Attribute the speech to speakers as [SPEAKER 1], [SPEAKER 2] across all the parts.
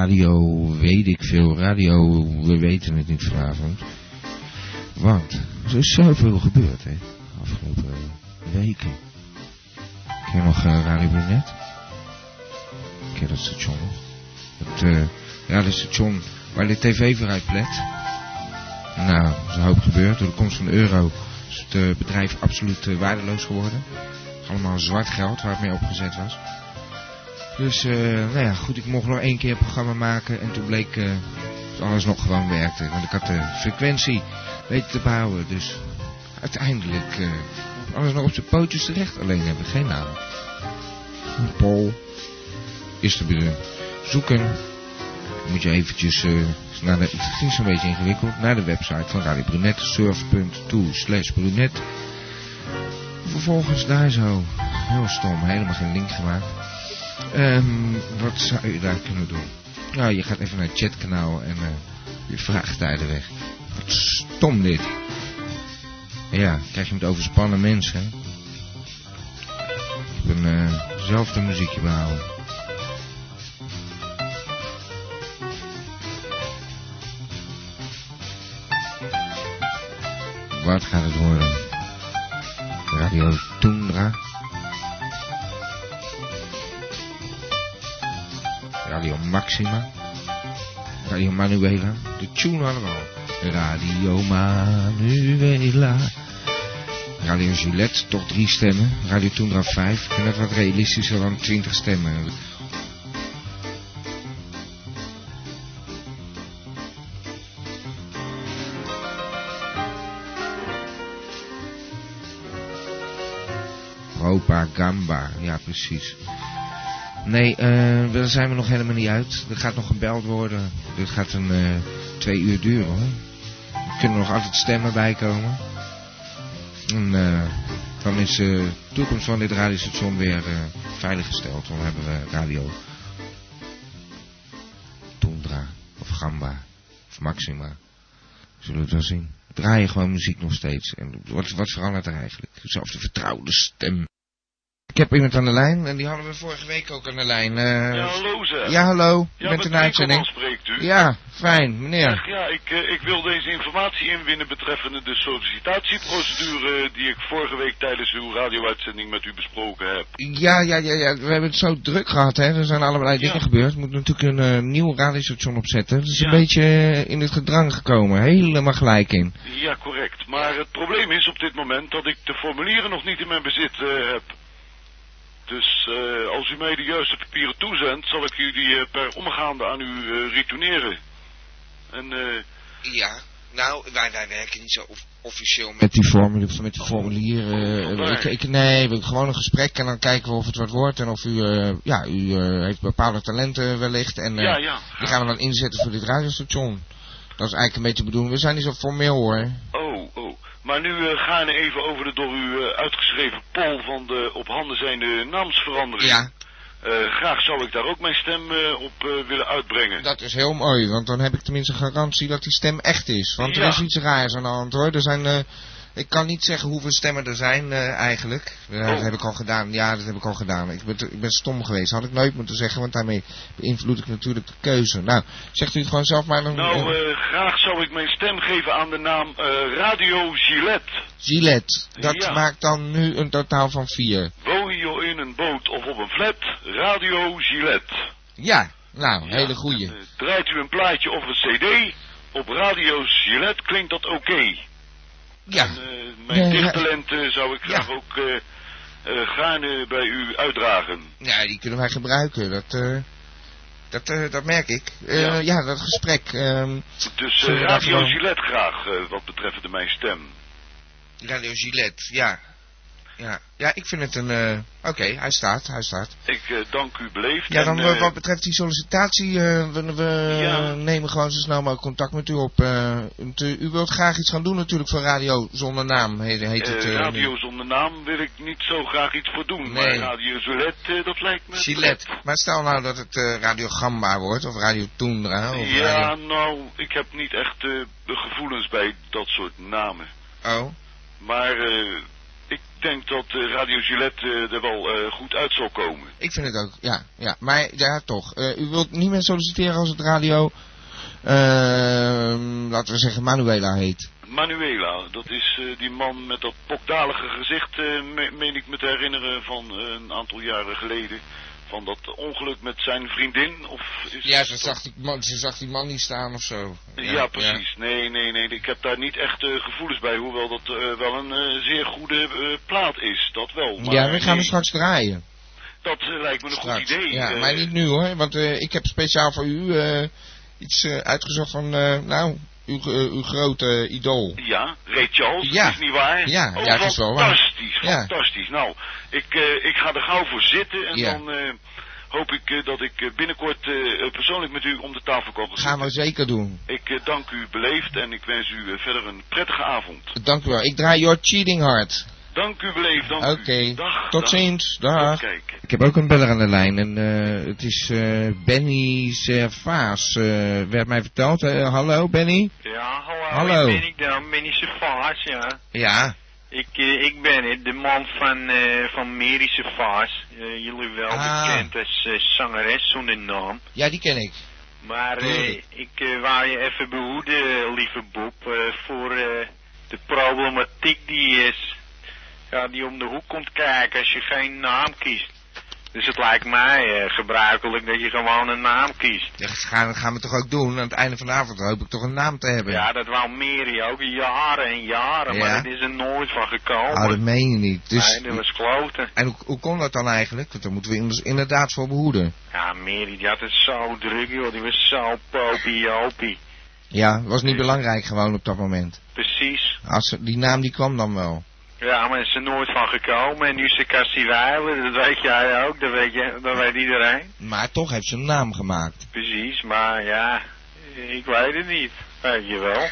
[SPEAKER 1] radio, weet ik veel, radio, we weten het niet vanavond. Want er is zoveel gebeurd, hè, de afgelopen weken. Ken je nog eh, Radio Brunet? Ken je dat station nog? Het eh, radiostation waar de tv voor uitplet. Nou, er is een hoop gebeurd. Door de komst van de euro is het eh, bedrijf absoluut eh, waardeloos geworden. Allemaal zwart geld waar het mee opgezet was. Dus, eh, nou ja, goed, ik mocht nog één keer een programma maken en toen bleek eh, dat alles nog gewoon werkte. Want ik had de frequentie weten te bouwen, dus uiteindelijk eh, alles nog op zijn pootjes terecht. Alleen hebben we geen naam. Een Pol is te bedoelen. Zoeken Dan moet je eventjes eh, naar de, het ging zo'n beetje ingewikkeld, naar de website van Radio Brunet, surf.to slash brunet. Vervolgens daar zo, heel stom, helemaal geen link gemaakt. Ehm, wat zou je daar kunnen doen? Nou, je gaat even naar het chatkanaal en eh, je vraagt tijden weg. Wat stom dit. Ja, krijg je met overspannen mensen. hè. Ik ben eh, zelf de muziekje behouden. Wat gaat het worden? Radio Tundra. Radio Maxima. Radio Manuela. De tune allemaal. Radio Manuela. Radio Gillette, toch drie stemmen. Radio Toendra vijf. Ik vind dat wat realistischer dan twintig stemmen. Propagamba, ja precies. Nee, eh, daar zijn we nog helemaal niet uit. Er gaat nog gebeld worden. Dit gaat een eh, twee uur duren hoor. Er kunnen nog altijd stemmen bij komen. En eh, dan is eh, de toekomst van dit radiostation weer eh, veiliggesteld. Dan hebben we radio Tundra of Gamba of Maxima. Zullen we het wel zien. Draai je gewoon muziek nog steeds. En wat, wat verandert er eigenlijk? Zelfs de vertrouwde stem. Ik heb iemand aan de lijn en die hadden we vorige week ook aan de lijn. eh,
[SPEAKER 2] Ja, hallo zeg.
[SPEAKER 1] ja, hallo. Je bent
[SPEAKER 2] met
[SPEAKER 1] in de
[SPEAKER 2] Winkelman
[SPEAKER 1] uitzending.
[SPEAKER 2] spreekt u.
[SPEAKER 1] Ja, fijn,
[SPEAKER 2] Zeg,
[SPEAKER 1] meneer.
[SPEAKER 2] ja, ik, eh, ik wil deze informatie inwinnen betreffende de sollicitatieprocedure die ik vorige week tijdens uw radio-uitzending met u besproken heb.
[SPEAKER 1] Ja, ja, ja, ja. We hebben het zo druk gehad, hè. Er zijn allerlei dingen
[SPEAKER 2] Ja.
[SPEAKER 1] gebeurd. We moeten natuurlijk een eh, nieuw radiostation opzetten. Dat is een
[SPEAKER 2] Ja.
[SPEAKER 1] beetje eh, in het gedrang gekomen. Helemaal gelijk in.
[SPEAKER 2] Ja, correct. Maar het probleem is op dit moment dat ik de formulieren nog niet in mijn bezit eh, heb. Dus eh, als u mij de juiste papieren toezendt, zal ik jullie eh, per omgaande aan u eh, retourneren. En eh,
[SPEAKER 1] Ja, nou, wij, wij werken niet zo officieel met Oh. die formulier. Of met die formulieren. eh, ik, ik, nee, we- gewoon een gesprek en dan kijken we of het wat wordt. En of u, eh, ja, u eh, heeft bepaalde talenten wellicht. En eh,
[SPEAKER 2] ja, ja.
[SPEAKER 1] die gaan we dan inzetten voor dit radiostation. Dat is eigenlijk een beetje de bedoeling. We zijn niet zo formeel, hoor.
[SPEAKER 2] Oh, oh. Maar nu eh, gaan we even over de door u eh, uitgeschreven poll van de op handen zijnde naamsverandering.
[SPEAKER 1] Ja,
[SPEAKER 2] Eh, graag zou ik daar ook mijn stem eh, op eh, willen uitbrengen.
[SPEAKER 1] dat is heel mooi, want dan heb ik tenminste garantie dat die stem echt is. Want er
[SPEAKER 2] Ja.
[SPEAKER 1] is iets raars aan de hand hoor. Er zijn, eh, ik kan niet zeggen hoeveel stemmen er zijn eh, eigenlijk. Ja, Dat
[SPEAKER 2] Oh.
[SPEAKER 1] heb ik al gedaan. Ja, dat heb ik al gedaan. Ik ben, te- ik ben stom geweest. Had ik nooit moeten zeggen, want daarmee beïnvloed ik natuurlijk de keuze. Nou, zegt u het gewoon zelf maar. Dan,
[SPEAKER 2] Nou,
[SPEAKER 1] eh,
[SPEAKER 2] eh, graag zou ik mijn stem geven aan de naam eh, Radio Gillette.
[SPEAKER 1] Gillette, dat
[SPEAKER 2] ja.
[SPEAKER 1] maakt dan nu een totaal van vier.
[SPEAKER 2] Woon je in een boot of op een flat? Radio Gillette.
[SPEAKER 1] Ja, nou,
[SPEAKER 2] Ja,
[SPEAKER 1] hele
[SPEAKER 2] en,
[SPEAKER 1] goeie.
[SPEAKER 2] eh, draait u een plaatje of een cd? Op Radio Gillette klinkt dat oké.
[SPEAKER 1] Ja,
[SPEAKER 2] En, eh, mijn
[SPEAKER 1] Nee, ja.
[SPEAKER 2] dichttalent eh, zou ik graag
[SPEAKER 1] Ja.
[SPEAKER 2] ook eh eh, gaarne bij u uitdragen.
[SPEAKER 1] Ja, die kunnen wij gebruiken. Dat, eh, dat, eh, dat merk ik. Eh,
[SPEAKER 2] Ja.
[SPEAKER 1] ja. dat gesprek. ehm,
[SPEAKER 2] Dus eh,
[SPEAKER 1] Zullen we dat
[SPEAKER 2] Radio
[SPEAKER 1] gewoon-
[SPEAKER 2] Gillette graag, eh, wat betreft mijn stem.
[SPEAKER 1] Radio Gillette, ja. Ja, ja ik vind het een... eh, Oké, hij staat, hij staat.
[SPEAKER 2] Ik eh, dank u beleefd.
[SPEAKER 1] Ja,
[SPEAKER 2] en,
[SPEAKER 1] dan eh,
[SPEAKER 2] eh,
[SPEAKER 1] wat betreft die sollicitatie, eh, we, we
[SPEAKER 2] Ja.
[SPEAKER 1] nemen gewoon zo snel mogelijk contact met u op. eh, want, eh, u wilt graag iets gaan doen natuurlijk voor Radio Zonder Naam, heet, heet
[SPEAKER 2] eh,
[SPEAKER 1] het. eh,
[SPEAKER 2] radio
[SPEAKER 1] nu.
[SPEAKER 2] zonder naam wil ik niet zo graag iets voor doen. Maar
[SPEAKER 1] Nee.
[SPEAKER 2] Radio Gillette, eh, dat lijkt me...
[SPEAKER 1] Gillette. Maar stel nou dat het eh, Radio Gamba wordt, of Radio Toendra, of
[SPEAKER 2] Ja,
[SPEAKER 1] Oh, Radio...
[SPEAKER 2] nou, ik heb niet echt eh, de gevoelens bij dat soort namen.
[SPEAKER 1] Oh,
[SPEAKER 2] Maar eh, Ik denk dat eh, Radio Gillette eh, er wel eh, goed uit zal komen.
[SPEAKER 1] Ik vind het ook, ja. ja. Maar ja, toch. Eh, u wilt niet meer solliciteren als het radio, ehm, laten we zeggen, Manuela heet.
[SPEAKER 2] Manuela, dat is eh, die man met dat pokdalige gezicht, eh, me- meen ik me te herinneren van eh, een aantal jaren geleden. Van dat ongeluk met zijn vriendin, of is
[SPEAKER 1] Ja,
[SPEAKER 2] het
[SPEAKER 1] ze
[SPEAKER 2] dat-
[SPEAKER 1] zag, die man, ze zag die man niet staan of zo.
[SPEAKER 2] Ja, precies. Nee, nee, nee. Ik heb daar niet echt eh, gevoelens bij, hoewel dat eh, wel een eh, zeer goede eh, plaat is. Dat wel.
[SPEAKER 1] Ja,
[SPEAKER 2] Maar
[SPEAKER 1] we gaan hem
[SPEAKER 2] nee,
[SPEAKER 1] straks draaien.
[SPEAKER 2] Dat eh, lijkt me een
[SPEAKER 1] Straks.
[SPEAKER 2] goed idee.
[SPEAKER 1] ja,
[SPEAKER 2] eh,
[SPEAKER 1] maar niet nu hoor, want eh, ik heb speciaal voor u eh, iets eh, uitgezocht van, eh, nou, uw, eh, uw grote idool.
[SPEAKER 2] Ja, Ray Charles,
[SPEAKER 1] Ja.
[SPEAKER 2] is niet waar?
[SPEAKER 1] Ja,
[SPEAKER 2] Oh,
[SPEAKER 1] ja, dat is wel waar.
[SPEAKER 2] Fantastisch,
[SPEAKER 1] Ja.
[SPEAKER 2] fantastisch. Nou, ik, eh, ik ga er gauw voor zitten en
[SPEAKER 1] Ja.
[SPEAKER 2] dan eh, hoop ik eh, dat ik eh, binnenkort eh, eh, persoonlijk met u om de tafel kan zitten.
[SPEAKER 1] Gaan we zeker doen.
[SPEAKER 2] Ik eh, dank u beleefd en ik wens u eh, verder een prettige avond.
[SPEAKER 1] Dank u wel. Ik draai Your Cheating Heart.
[SPEAKER 2] Dank u beleefd, dank
[SPEAKER 1] Oké,
[SPEAKER 2] u. Dag,
[SPEAKER 1] tot
[SPEAKER 2] dag.
[SPEAKER 1] ziens. Dag.
[SPEAKER 2] Tot kijk.
[SPEAKER 1] Ik heb ook een beller aan de lijn en eh, het is eh, Benny Servaas, eh, werd mij verteld. Eh, hallo Benny?
[SPEAKER 3] Ja, hallo,
[SPEAKER 1] Hallo.
[SPEAKER 3] ik ben nou, ik dan, Benny Servaas, ja.
[SPEAKER 1] Ja.
[SPEAKER 3] Ik, eh, ik ben het, de man van, eh van Mary Servaas. Eh, jullie wel
[SPEAKER 1] Ah.
[SPEAKER 3] bekend als eh, zangeres zonder naam.
[SPEAKER 1] Ja, die ken ik.
[SPEAKER 3] Maar eh,
[SPEAKER 1] Tuurlijk.
[SPEAKER 3] ik eh, wou je even behoeden, lieve Bob, eh, voor eh, de problematiek die is. Ja, die om de hoek komt kijken als je geen naam kiest. Dus het lijkt mij eh, gebruikelijk dat je gewoon een naam kiest.
[SPEAKER 1] Ja, dat gaan, dat gaan we toch ook doen. Aan het einde van de avond hoop ik toch een naam te hebben.
[SPEAKER 3] Ja, dat wou Mary ook jaren en jaren,
[SPEAKER 1] Ja.
[SPEAKER 3] maar dat is er nooit van gekomen.
[SPEAKER 1] Oh, dat meen je niet. Dus,
[SPEAKER 3] Nee, dat was kloten.
[SPEAKER 1] en hoe, hoe kon dat dan eigenlijk? Want daar moeten we ons inderdaad voor behoeden.
[SPEAKER 3] Ja, Mary, die had het zo druk, joh. Die was zo popiopie.
[SPEAKER 1] Ja, dat was niet belangrijk gewoon op dat moment.
[SPEAKER 3] Precies.
[SPEAKER 1] Als, ze- die naam die kwam dan wel.
[SPEAKER 3] Ja, maar is er nooit van gekomen. En nu is ze Cassie Weiler, dat weet jij ook, dat weet, je, dat weet iedereen.
[SPEAKER 1] Maar toch heeft ze een naam gemaakt.
[SPEAKER 3] Precies, maar ja, ik weet het niet. Weet je wel.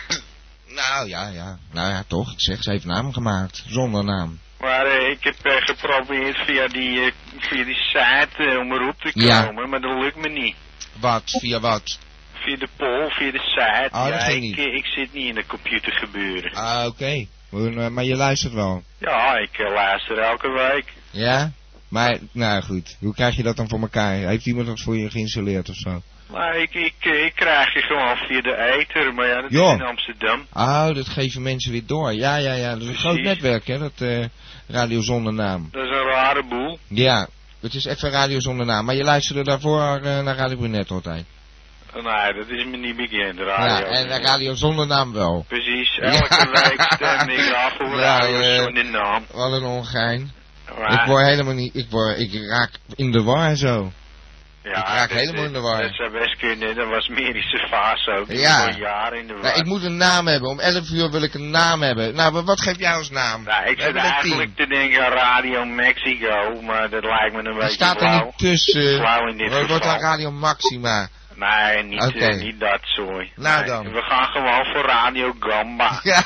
[SPEAKER 1] Nou ja, ja. Nou ja, toch. Ik zeg, ze heeft een naam gemaakt. Zonder naam.
[SPEAKER 3] Maar eh, ik heb eh, geprobeerd via die, eh, via die site eh, om erop te
[SPEAKER 1] Ja.
[SPEAKER 3] komen, maar dat lukt me niet.
[SPEAKER 1] Wat? Via wat?
[SPEAKER 3] Via de poll, via de site.
[SPEAKER 1] Oh, dat
[SPEAKER 3] ja,
[SPEAKER 1] ging
[SPEAKER 3] ik,
[SPEAKER 1] niet.
[SPEAKER 3] eh, ik zit niet in de computer gebeuren.
[SPEAKER 1] Ah, oké. Maar, eh, maar je luistert wel.
[SPEAKER 3] Ja, ik eh, luister elke week.
[SPEAKER 1] Ja? Maar, nou goed. Hoe krijg je dat dan voor elkaar? Heeft iemand dat voor je geïnstalleerd of zo?
[SPEAKER 3] Maar ik, ik, ik krijg je gewoon via de eter, maar ja, dat
[SPEAKER 1] Ja.
[SPEAKER 3] is in Amsterdam.
[SPEAKER 1] Oh, dat geven mensen weer door. Ja, ja, ja. Dat is een
[SPEAKER 3] Precies.
[SPEAKER 1] groot netwerk, hè? Dat eh, Radio Zonder Naam.
[SPEAKER 3] Dat is een rare boel.
[SPEAKER 1] Ja. Het is echt een Radio Zonder Naam. Maar je luisterde daarvoor eh, naar Radio Brunet altijd.
[SPEAKER 3] Nee, dat is me niet bekend,
[SPEAKER 1] Ja,
[SPEAKER 3] radio.
[SPEAKER 1] en eh, Radio Zonder Naam wel.
[SPEAKER 3] Precies, elke
[SPEAKER 1] Ja.
[SPEAKER 3] week stem ik af voor
[SPEAKER 1] Ja,
[SPEAKER 3] radio
[SPEAKER 1] eh,
[SPEAKER 3] zonder naam.
[SPEAKER 1] Wat een ongein.
[SPEAKER 3] Maar-
[SPEAKER 1] Ik word helemaal niet... Ik, word, ik raak in de war en zo.
[SPEAKER 3] ja,
[SPEAKER 1] ik raak
[SPEAKER 3] dat- eh,
[SPEAKER 1] helemaal in de war.
[SPEAKER 3] Dat zou best kunnen, dat was Merische Vaas ook. Die
[SPEAKER 1] Ja.
[SPEAKER 3] was al jaren in de war.
[SPEAKER 1] Nou, ik moet een naam hebben. Om 11 uur wil ik een naam hebben. Nou, maar wat geef jij als naam?
[SPEAKER 3] Nou, ik
[SPEAKER 1] We
[SPEAKER 3] zit
[SPEAKER 1] hebben er
[SPEAKER 3] eigenlijk te denken aan Radio Mexico, maar dat lijkt me een
[SPEAKER 1] Die
[SPEAKER 3] beetje
[SPEAKER 1] staat er
[SPEAKER 3] flauw.
[SPEAKER 1] niet tussen. Oh,
[SPEAKER 3] Flauw in dit
[SPEAKER 1] Het wordt dan
[SPEAKER 3] geval.
[SPEAKER 1] Radio Maxima.
[SPEAKER 3] Nee, niet,
[SPEAKER 1] Oké.
[SPEAKER 3] eh, niet dat, sorry.
[SPEAKER 1] Nou
[SPEAKER 3] Nee,
[SPEAKER 1] dan.
[SPEAKER 3] We gaan gewoon voor Radio Gamba.
[SPEAKER 1] Ja,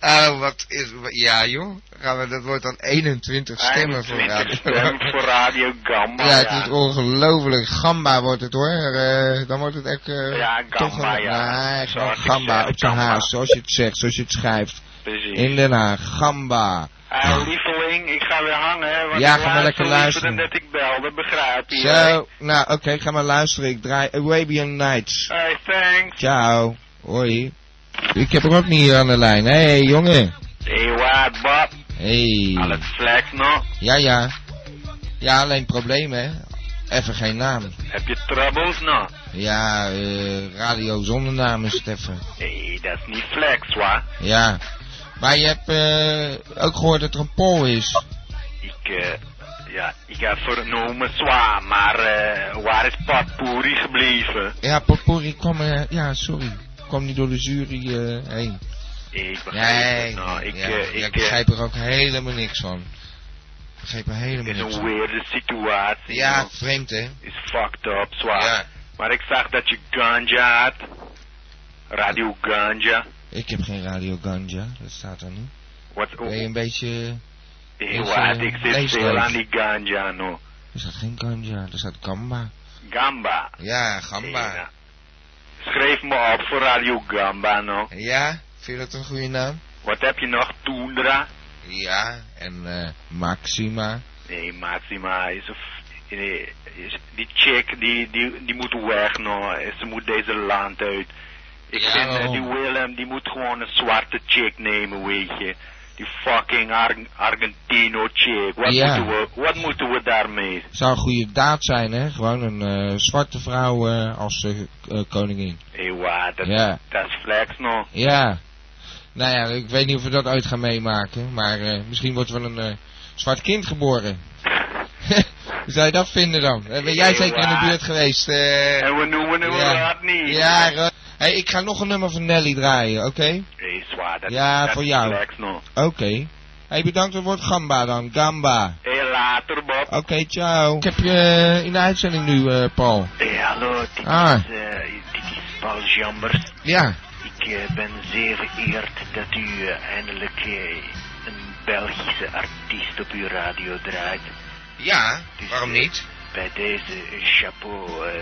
[SPEAKER 1] oh, wat is... Ja, joh. Gaan we, dat wordt dan 21 stemmen voor
[SPEAKER 3] 21
[SPEAKER 1] Radio
[SPEAKER 3] stemmen voor Radio Gamba.
[SPEAKER 1] Ja, het is ongelooflijk. Gamba wordt het hoor. Eh, dan wordt het echt... eh,
[SPEAKER 3] Ja, Gamba,
[SPEAKER 1] toch een,
[SPEAKER 3] ja.
[SPEAKER 1] Nee, gewoon
[SPEAKER 3] Zoals ik
[SPEAKER 1] Gamba
[SPEAKER 3] zeg,
[SPEAKER 1] op zijn
[SPEAKER 3] Gamba.
[SPEAKER 1] haas. Zoals je het zegt, zoals je het schrijft.
[SPEAKER 3] Precies.
[SPEAKER 1] In Den Haag. Gamba.
[SPEAKER 3] Eh, lieveling, ik ga weer hangen, hè, want
[SPEAKER 1] Ja,
[SPEAKER 3] ik
[SPEAKER 1] ga maar lekker
[SPEAKER 3] liever
[SPEAKER 1] luisteren.
[SPEAKER 3] dan dat ik bel, dat begrijp je. hè.
[SPEAKER 1] Zo. Nou, oké. ga maar luisteren. Ik draai Arabian Nights.
[SPEAKER 3] Hey, thanks.
[SPEAKER 1] Ciao. Hoi. Ik heb er ook niet hier aan de lijn. Hé, hey, jongen.
[SPEAKER 3] Hey, wat, Bob? Al
[SPEAKER 1] Hey.
[SPEAKER 3] het vlek nog?
[SPEAKER 1] Ja, ja. Ja, alleen probleem, hè. Even geen naam.
[SPEAKER 3] Heb je troubles nog?
[SPEAKER 1] Ja, eh, radio zonder naam is het even.
[SPEAKER 3] Nee, dat is niet flex, wa?
[SPEAKER 1] Ja. Maar je hebt eh, ook gehoord dat er een poll is.
[SPEAKER 3] Ik, eh, ja, ik heb vernomen zwaar, maar eh, waar is Patpouri gebleven?
[SPEAKER 1] Ja, Potpourri kwam... eh, ja, sorry. Kwam niet door de jury eh, heen.
[SPEAKER 3] Ik begrijp
[SPEAKER 1] Nee.
[SPEAKER 3] het nou. Ik,
[SPEAKER 1] ja,
[SPEAKER 3] eh, ik,
[SPEAKER 1] ja, ik
[SPEAKER 3] eh,
[SPEAKER 1] begrijp er ook helemaal niks van. Ik begrijp er helemaal
[SPEAKER 3] Het is
[SPEAKER 1] niks
[SPEAKER 3] een
[SPEAKER 1] van.
[SPEAKER 3] weirde situatie.
[SPEAKER 1] Ja,
[SPEAKER 3] man.
[SPEAKER 1] vreemd, hè.
[SPEAKER 3] Is fucked up, zwaar.
[SPEAKER 1] Ja.
[SPEAKER 3] Maar ik zag dat je ganja had. Radio ganja.
[SPEAKER 1] Ik heb geen Radio Ganja. Dat staat er niet.
[SPEAKER 3] Wat
[SPEAKER 1] Ben je een beetje... eh,
[SPEAKER 3] Hey,
[SPEAKER 1] is,
[SPEAKER 3] wat,
[SPEAKER 1] eh,
[SPEAKER 3] ik zit
[SPEAKER 1] leeftijd.
[SPEAKER 3] veel aan die ganja, no.
[SPEAKER 1] Er staat geen ganja, er staat gamba.
[SPEAKER 3] Gamba.
[SPEAKER 1] Ja,
[SPEAKER 3] Hey, nou. Schreef me op voor Radio Gamba, no.
[SPEAKER 1] Ja? Vind je dat een goede naam?
[SPEAKER 3] Wat heb je nog? Tundra?
[SPEAKER 1] Ja, en eh, Maxima.
[SPEAKER 3] Nee, Maxima is... een- eh, is- Die chick, die, die, die moet weg nou. Ze moet deze land uit. Ik
[SPEAKER 1] Ja,
[SPEAKER 3] vind eh,
[SPEAKER 1] waarom?
[SPEAKER 3] die Willem, die moet gewoon een zwarte chick nemen, weet je. Die fucking Ar Argentino chick. Wat,
[SPEAKER 1] Ja.
[SPEAKER 3] moeten we, wat moeten we daarmee?
[SPEAKER 1] Zou een goede daad zijn, hè? Gewoon een eh, zwarte vrouw eh, als eh, k- eh, koningin.
[SPEAKER 3] Hé, wat, dat,
[SPEAKER 1] Ja.
[SPEAKER 3] dat is flex nou.
[SPEAKER 1] Ja. Nou ja, ik weet niet of we dat ooit gaan meemaken. Maar eh, misschien wordt wel een eh, zwart kind geboren. Hoe zou je dat vinden dan? Eh, ben jij
[SPEAKER 3] Nee,
[SPEAKER 1] zeker in de
[SPEAKER 3] waar.
[SPEAKER 1] buurt geweest? eh?
[SPEAKER 3] En we noemen hem
[SPEAKER 1] ja.
[SPEAKER 3] dat niet.
[SPEAKER 1] Ja, ro- hey, ik ga nog een nummer van Nelly draaien, oké?
[SPEAKER 3] Hé, zwaar, dat,
[SPEAKER 1] Ja,
[SPEAKER 3] dat
[SPEAKER 1] voor
[SPEAKER 3] is
[SPEAKER 1] jou.
[SPEAKER 3] flex nou.
[SPEAKER 1] Oké. hey, bedankt voor het woord gamba dan. Gamba.
[SPEAKER 3] Hé, later Bob.
[SPEAKER 1] Oké, ciao. Ik heb je in de uitzending nu, eh, Paul.
[SPEAKER 3] Hé, hallo, dit
[SPEAKER 1] Ah.
[SPEAKER 3] is, eh, dit is Paul Jambers.
[SPEAKER 1] Ja.
[SPEAKER 3] Ik eh, ben zeer vereerd dat u eh, eindelijk eh, een Belgische artiest op uw radio draait.
[SPEAKER 1] Ja,
[SPEAKER 3] Dus, eh, Bij deze eh, chapeau, eh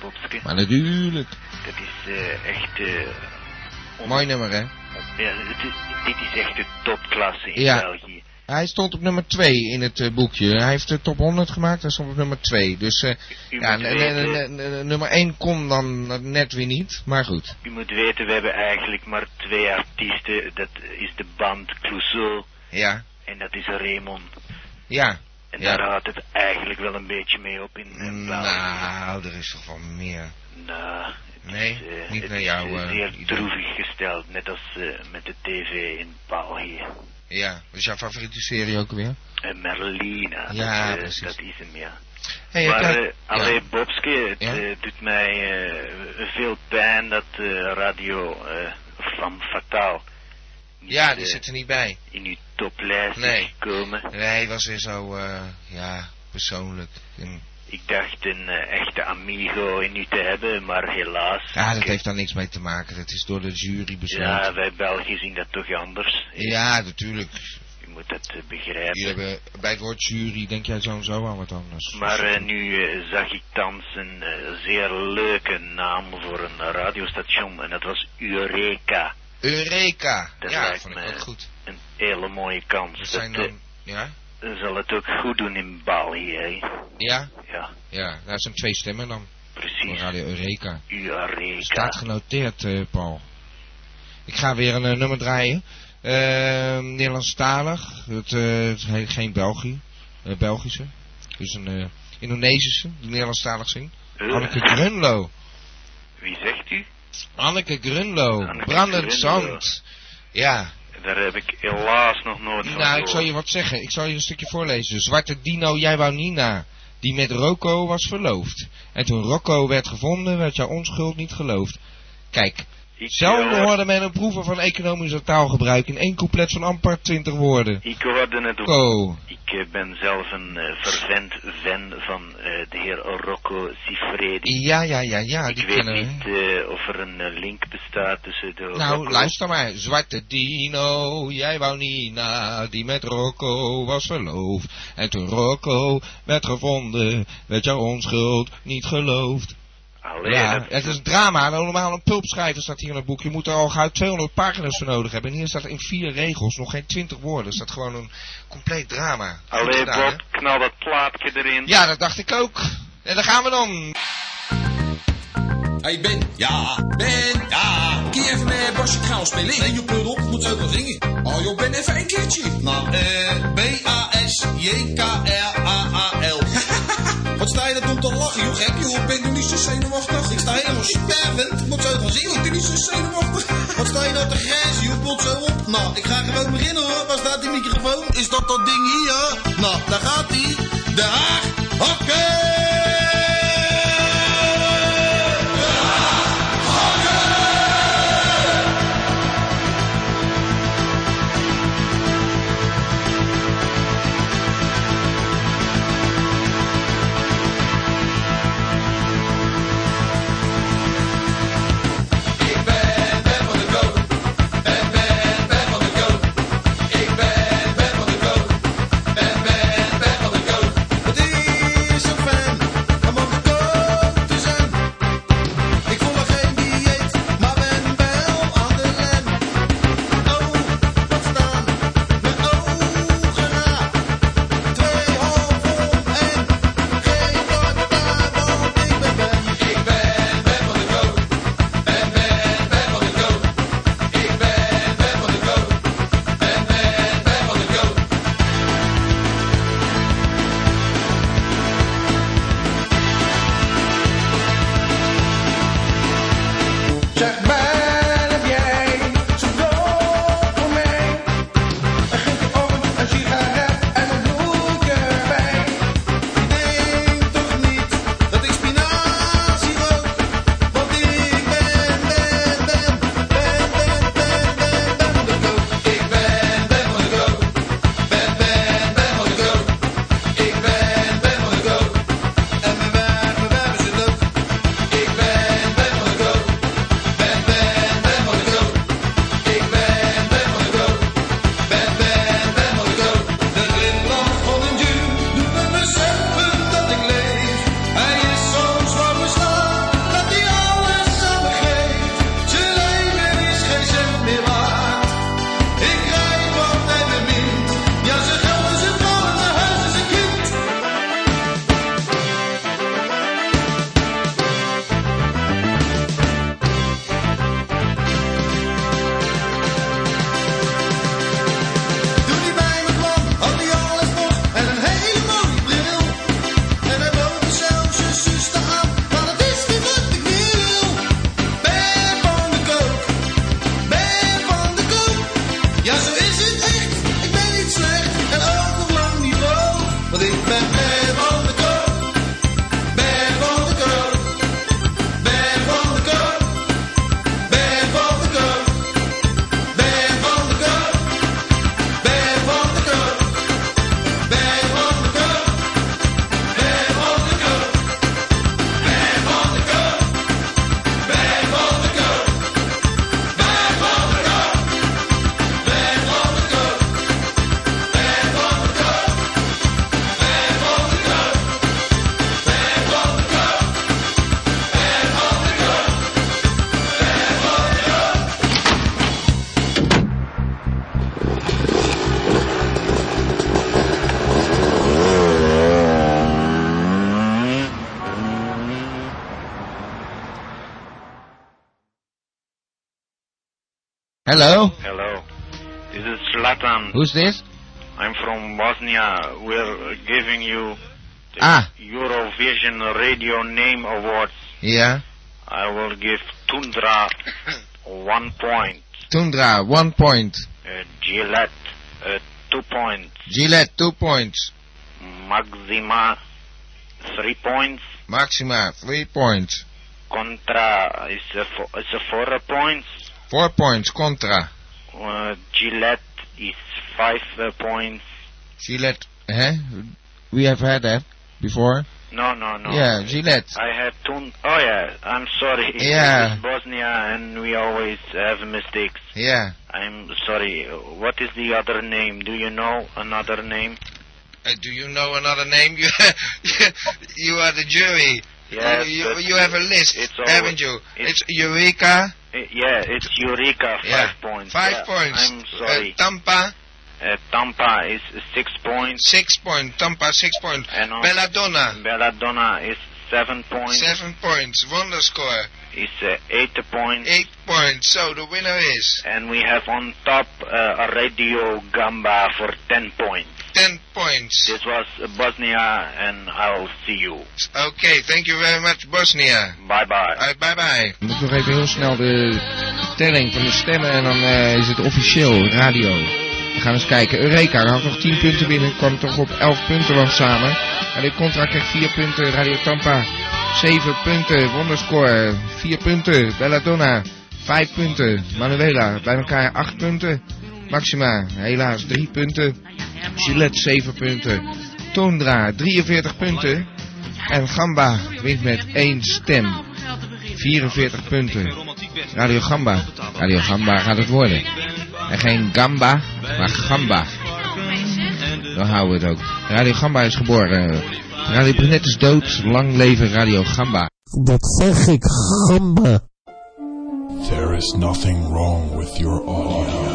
[SPEAKER 3] Bobske.
[SPEAKER 1] Maar natuurlijk.
[SPEAKER 3] Dat is eh, echt... eh, on-
[SPEAKER 1] Mooi nummer, hè?
[SPEAKER 3] ja, het is- dit is echt de topklasse in
[SPEAKER 1] Ja.
[SPEAKER 3] België.
[SPEAKER 1] Hij stond op nummer 2 in het eh, boekje. Hij heeft de top 100 gemaakt, hij stond op nummer 2. Dus eh,
[SPEAKER 3] U,
[SPEAKER 1] ja,
[SPEAKER 3] moet
[SPEAKER 1] n- n-
[SPEAKER 3] weten,
[SPEAKER 1] n- n- nummer 1 kon dan net weer niet. Maar goed.
[SPEAKER 3] u moet weten, we hebben eigenlijk maar twee artiesten. Dat is de band Clouseau
[SPEAKER 1] Ja.
[SPEAKER 3] en dat is Raymond.
[SPEAKER 1] Ja.
[SPEAKER 3] En
[SPEAKER 1] Ja.
[SPEAKER 3] daar houdt het eigenlijk wel een beetje mee op in eh, België.
[SPEAKER 1] Nou, er is toch wel meer.
[SPEAKER 3] Nou, het
[SPEAKER 1] Nee,
[SPEAKER 3] is, eh,
[SPEAKER 1] niet
[SPEAKER 3] het
[SPEAKER 1] naar
[SPEAKER 3] is,
[SPEAKER 1] jou,
[SPEAKER 3] eh,
[SPEAKER 1] eh,
[SPEAKER 3] zeer
[SPEAKER 1] idee.
[SPEAKER 3] droevig gesteld, net als eh, met de tv in België.
[SPEAKER 1] Ja. Wat is jouw favoriete serie ook weer?
[SPEAKER 3] En Merlina,
[SPEAKER 1] Ja,
[SPEAKER 3] dat, eh,
[SPEAKER 1] precies.
[SPEAKER 3] dat is hem, ja.
[SPEAKER 1] Hey,
[SPEAKER 3] maar
[SPEAKER 1] heb
[SPEAKER 3] eh,
[SPEAKER 1] jij-
[SPEAKER 3] alleen Bobske, het
[SPEAKER 1] Ja?
[SPEAKER 3] eh, doet mij eh, veel pijn dat eh, radio eh, van Fataal niet
[SPEAKER 1] ja, die
[SPEAKER 3] eh,
[SPEAKER 1] zit er niet bij.
[SPEAKER 3] in uw toplijst
[SPEAKER 1] Nee.
[SPEAKER 3] is gekomen.
[SPEAKER 1] Nee, hij was weer zo, eh, ja, persoonlijk. En,
[SPEAKER 3] Ik dacht een eh, echte amigo in u te hebben, maar helaas.
[SPEAKER 1] ja, dat
[SPEAKER 3] Ik-
[SPEAKER 1] heeft daar niks mee te maken. Dat is door de jury besloten.
[SPEAKER 3] ja, wij Belgen zien dat toch anders.
[SPEAKER 1] Ja, natuurlijk.
[SPEAKER 3] U moet dat eh, begrijpen.
[SPEAKER 1] Jullie hebben, bij het woord jury denk jij zo en zo aan wat anders.
[SPEAKER 3] Maar eh, nu eh, zag ik thans een eh, zeer leuke naam voor een radiostation en dat was Eureka.
[SPEAKER 1] Eureka!
[SPEAKER 3] dat
[SPEAKER 1] Ja,
[SPEAKER 3] lijkt
[SPEAKER 1] vond
[SPEAKER 3] me-
[SPEAKER 1] ik ook goed.
[SPEAKER 3] Een hele mooie kans.
[SPEAKER 1] Dat
[SPEAKER 3] Dat,
[SPEAKER 1] zijn dan... Ja?
[SPEAKER 3] eh, zal het ook goed doen in Bali, hè?
[SPEAKER 1] Ja?
[SPEAKER 3] Ja,
[SPEAKER 1] Ja, daar zijn twee stemmen dan. Voor
[SPEAKER 3] precies.
[SPEAKER 1] Radio Eureka.
[SPEAKER 3] Eureka.
[SPEAKER 1] Staat genoteerd, eh, Paul. Ik ga weer een eh, nummer draaien. Eh, Nederlandstalig. Het, eh, het heet geen België. eh, Belgische. Dus een eh, Indonesische, die Nederlandstalig zingt.
[SPEAKER 3] Eh,
[SPEAKER 1] Anneke Grunlo.
[SPEAKER 3] wie zegt u?
[SPEAKER 1] Anneke Grunlo.
[SPEAKER 3] Anneke
[SPEAKER 1] Brandend
[SPEAKER 3] Grunlo.
[SPEAKER 1] zand. Ja.
[SPEAKER 3] Daar heb ik helaas nog nooit van
[SPEAKER 1] Nou, ik zal
[SPEAKER 3] gehoord.
[SPEAKER 1] je wat zeggen. Ik zal je een stukje voorlezen. Zwarte Dino, jij wou Nina. Die met Rocco was verloofd. En toen Rocco werd gevonden, werd jouw onschuld niet geloofd. Kijk,
[SPEAKER 3] Ik eh,
[SPEAKER 1] zelden
[SPEAKER 3] hoor-
[SPEAKER 1] hoorde men een proeven van economische taalgebruik in één couplet van amper 20 woorden.
[SPEAKER 3] Ik hoorde het ook.
[SPEAKER 1] Rocco.
[SPEAKER 3] Ik eh, ben zelf een eh, vervent fan van eh, de heer Rocco Sifredi.
[SPEAKER 1] Ja, ja, ja, ja, die
[SPEAKER 3] Ik weet
[SPEAKER 1] kennen we.
[SPEAKER 3] niet eh, of er een eh, link bestaat tussen de...
[SPEAKER 1] Nou,
[SPEAKER 3] Rocco-
[SPEAKER 1] luister maar. Zwarte Dino, jij wou Nina, die met Rocco was verloofd. En toen Rocco werd gevonden, werd jouw onschuld niet geloofd.
[SPEAKER 3] Allee,
[SPEAKER 1] Ja,
[SPEAKER 3] dat-
[SPEAKER 1] het is een drama. Nou, Normaal een pulpschrijver staat hier in het boek. Je moet er al gauw 200 pagina's voor nodig hebben. En hier staat in vier regels, nog geen 20 woorden. Er staat gewoon een compleet drama. Goed
[SPEAKER 3] Allee,
[SPEAKER 1] gedaan, hè?
[SPEAKER 3] Bob, knal dat plaatje erin.
[SPEAKER 1] Ja, dat dacht ik ook. En daar gaan we dan.
[SPEAKER 4] Hey Ben, ja, Ben, ja. Kiev met Bas, ik ga al spelen. Nee, je pleur op, moet ook wel zingen. Oh joh, Ben, even een keertje. Nou, eh, B-A-S-J-K-R-A-A-L. Wat sta je dat om te lachen, joh, gek joh. Ben, doe niet zo zenuwachtig. Ik sta helemaal stervend, moet zo wel zingen. Doe niet zo zenuwachtig. Wat sta je nou te grijzen, joh, pot zo op. Nou, ik ga gewoon beginnen hoor. Waar staat die microfoon? Is dat dat ding hier? Nou, daar gaat ie. De Haag, hakken! Het is zo fijn Oh,
[SPEAKER 1] Hello,
[SPEAKER 3] Hello. This is Zlatan.
[SPEAKER 1] who's this?
[SPEAKER 3] I'm from Bosnia. We're giving you the
[SPEAKER 1] Ah.
[SPEAKER 3] Eurovision Radio Name Awards.
[SPEAKER 1] Yeah,
[SPEAKER 3] I will give Tundra one point,
[SPEAKER 1] Tundra, one point.
[SPEAKER 3] uh, Gillette uh, two points,
[SPEAKER 1] Gillette, two points.
[SPEAKER 3] Maxima three points,
[SPEAKER 1] Maxima, three points.
[SPEAKER 3] Contra is a, fo- is a four points,
[SPEAKER 1] Four points, Contra.
[SPEAKER 3] uh, Gillette is five uh, points.
[SPEAKER 1] Gillette, hè? We have had that before.
[SPEAKER 3] No, no, no.
[SPEAKER 1] Yeah, Gillette.
[SPEAKER 3] I had Tun. Oh yeah, I'm sorry.
[SPEAKER 1] Yeah.
[SPEAKER 3] This is Bosnia, and we always have mistakes.
[SPEAKER 1] Yeah.
[SPEAKER 3] I'm sorry. What is the other name? Do you know another name?
[SPEAKER 1] Uh, do you know another name? You, you are the jury.
[SPEAKER 3] Yes,
[SPEAKER 1] you,
[SPEAKER 3] but
[SPEAKER 1] you have a list,
[SPEAKER 3] it's all-
[SPEAKER 1] haven't you? It's,
[SPEAKER 3] it's-
[SPEAKER 1] Eureka.
[SPEAKER 3] Eh, Yeah, it's Eureka, five
[SPEAKER 1] yeah.
[SPEAKER 3] points.
[SPEAKER 1] Five
[SPEAKER 3] Yeah,
[SPEAKER 1] points.
[SPEAKER 3] I'm sorry.
[SPEAKER 1] Uh, Tampa,
[SPEAKER 3] Uh, Tampa is six points.
[SPEAKER 1] six points. Tampa, six points.
[SPEAKER 3] And also-
[SPEAKER 1] Belladonna,
[SPEAKER 3] Belladonna is seven points.
[SPEAKER 1] seven points. Wonder score,
[SPEAKER 3] Is uh, eight points.
[SPEAKER 1] eight points. So the winner is
[SPEAKER 3] And we have on top uh, Radio Gamba for ten points.
[SPEAKER 1] ten points.
[SPEAKER 3] This was Bosnia, and I'll see you.
[SPEAKER 1] Okay, thank you very much, Bosnia.
[SPEAKER 3] Bye bye.
[SPEAKER 1] Uh, bye bye. Ik moet nog even heel snel de telling van de stemmen en dan eh, is het officieel radio. We gaan eens kijken. Eureka had nog 10 punten binnen, kwam toch op 11 punten was samen. En de contra kreeg 4 punten, Radio Tampa 7 punten, Wonderscore 4 punten, Belladonna 5 punten, Manuela bij elkaar 8 punten, Maxima helaas 3 punten, Gillette 7 punten, Tondra 43 punten en Gamba wint met 1 stem. 44 punten. Radio Gamba. Radio Gamba gaat het worden. En geen Gamba, maar Gamba. Dan houden we het ook. Radio Gamba is geboren. Radio Brunet is dood. Lang leven Radio Gamba.
[SPEAKER 5] Dat zeg ik gamba.
[SPEAKER 6] There is nothing wrong with your audio.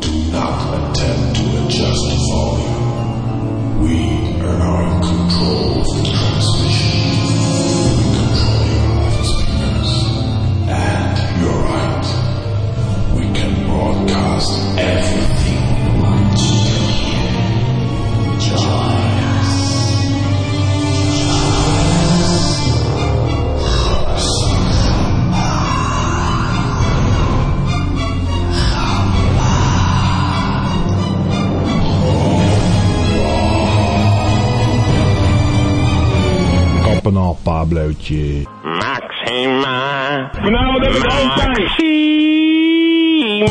[SPEAKER 6] Do not attempt to adjust the volume. We are now in control of the transmission. We control your loudspeakers. And you're right. We can broadcast everything we want to hear. Join us.
[SPEAKER 7] Kappen al, Pablootje.
[SPEAKER 8] Maxima.
[SPEAKER 7] Vanavond heb ik altijd.
[SPEAKER 8] Maxima.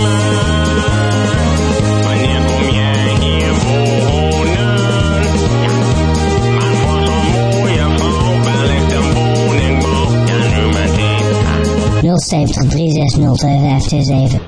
[SPEAKER 8] Wanneer kom jij hier wonen? Ja. Maar voor zo'n mooie vrouw bel ik de woningbouw. Ja, nu meteen.
[SPEAKER 9] 070 360 2527.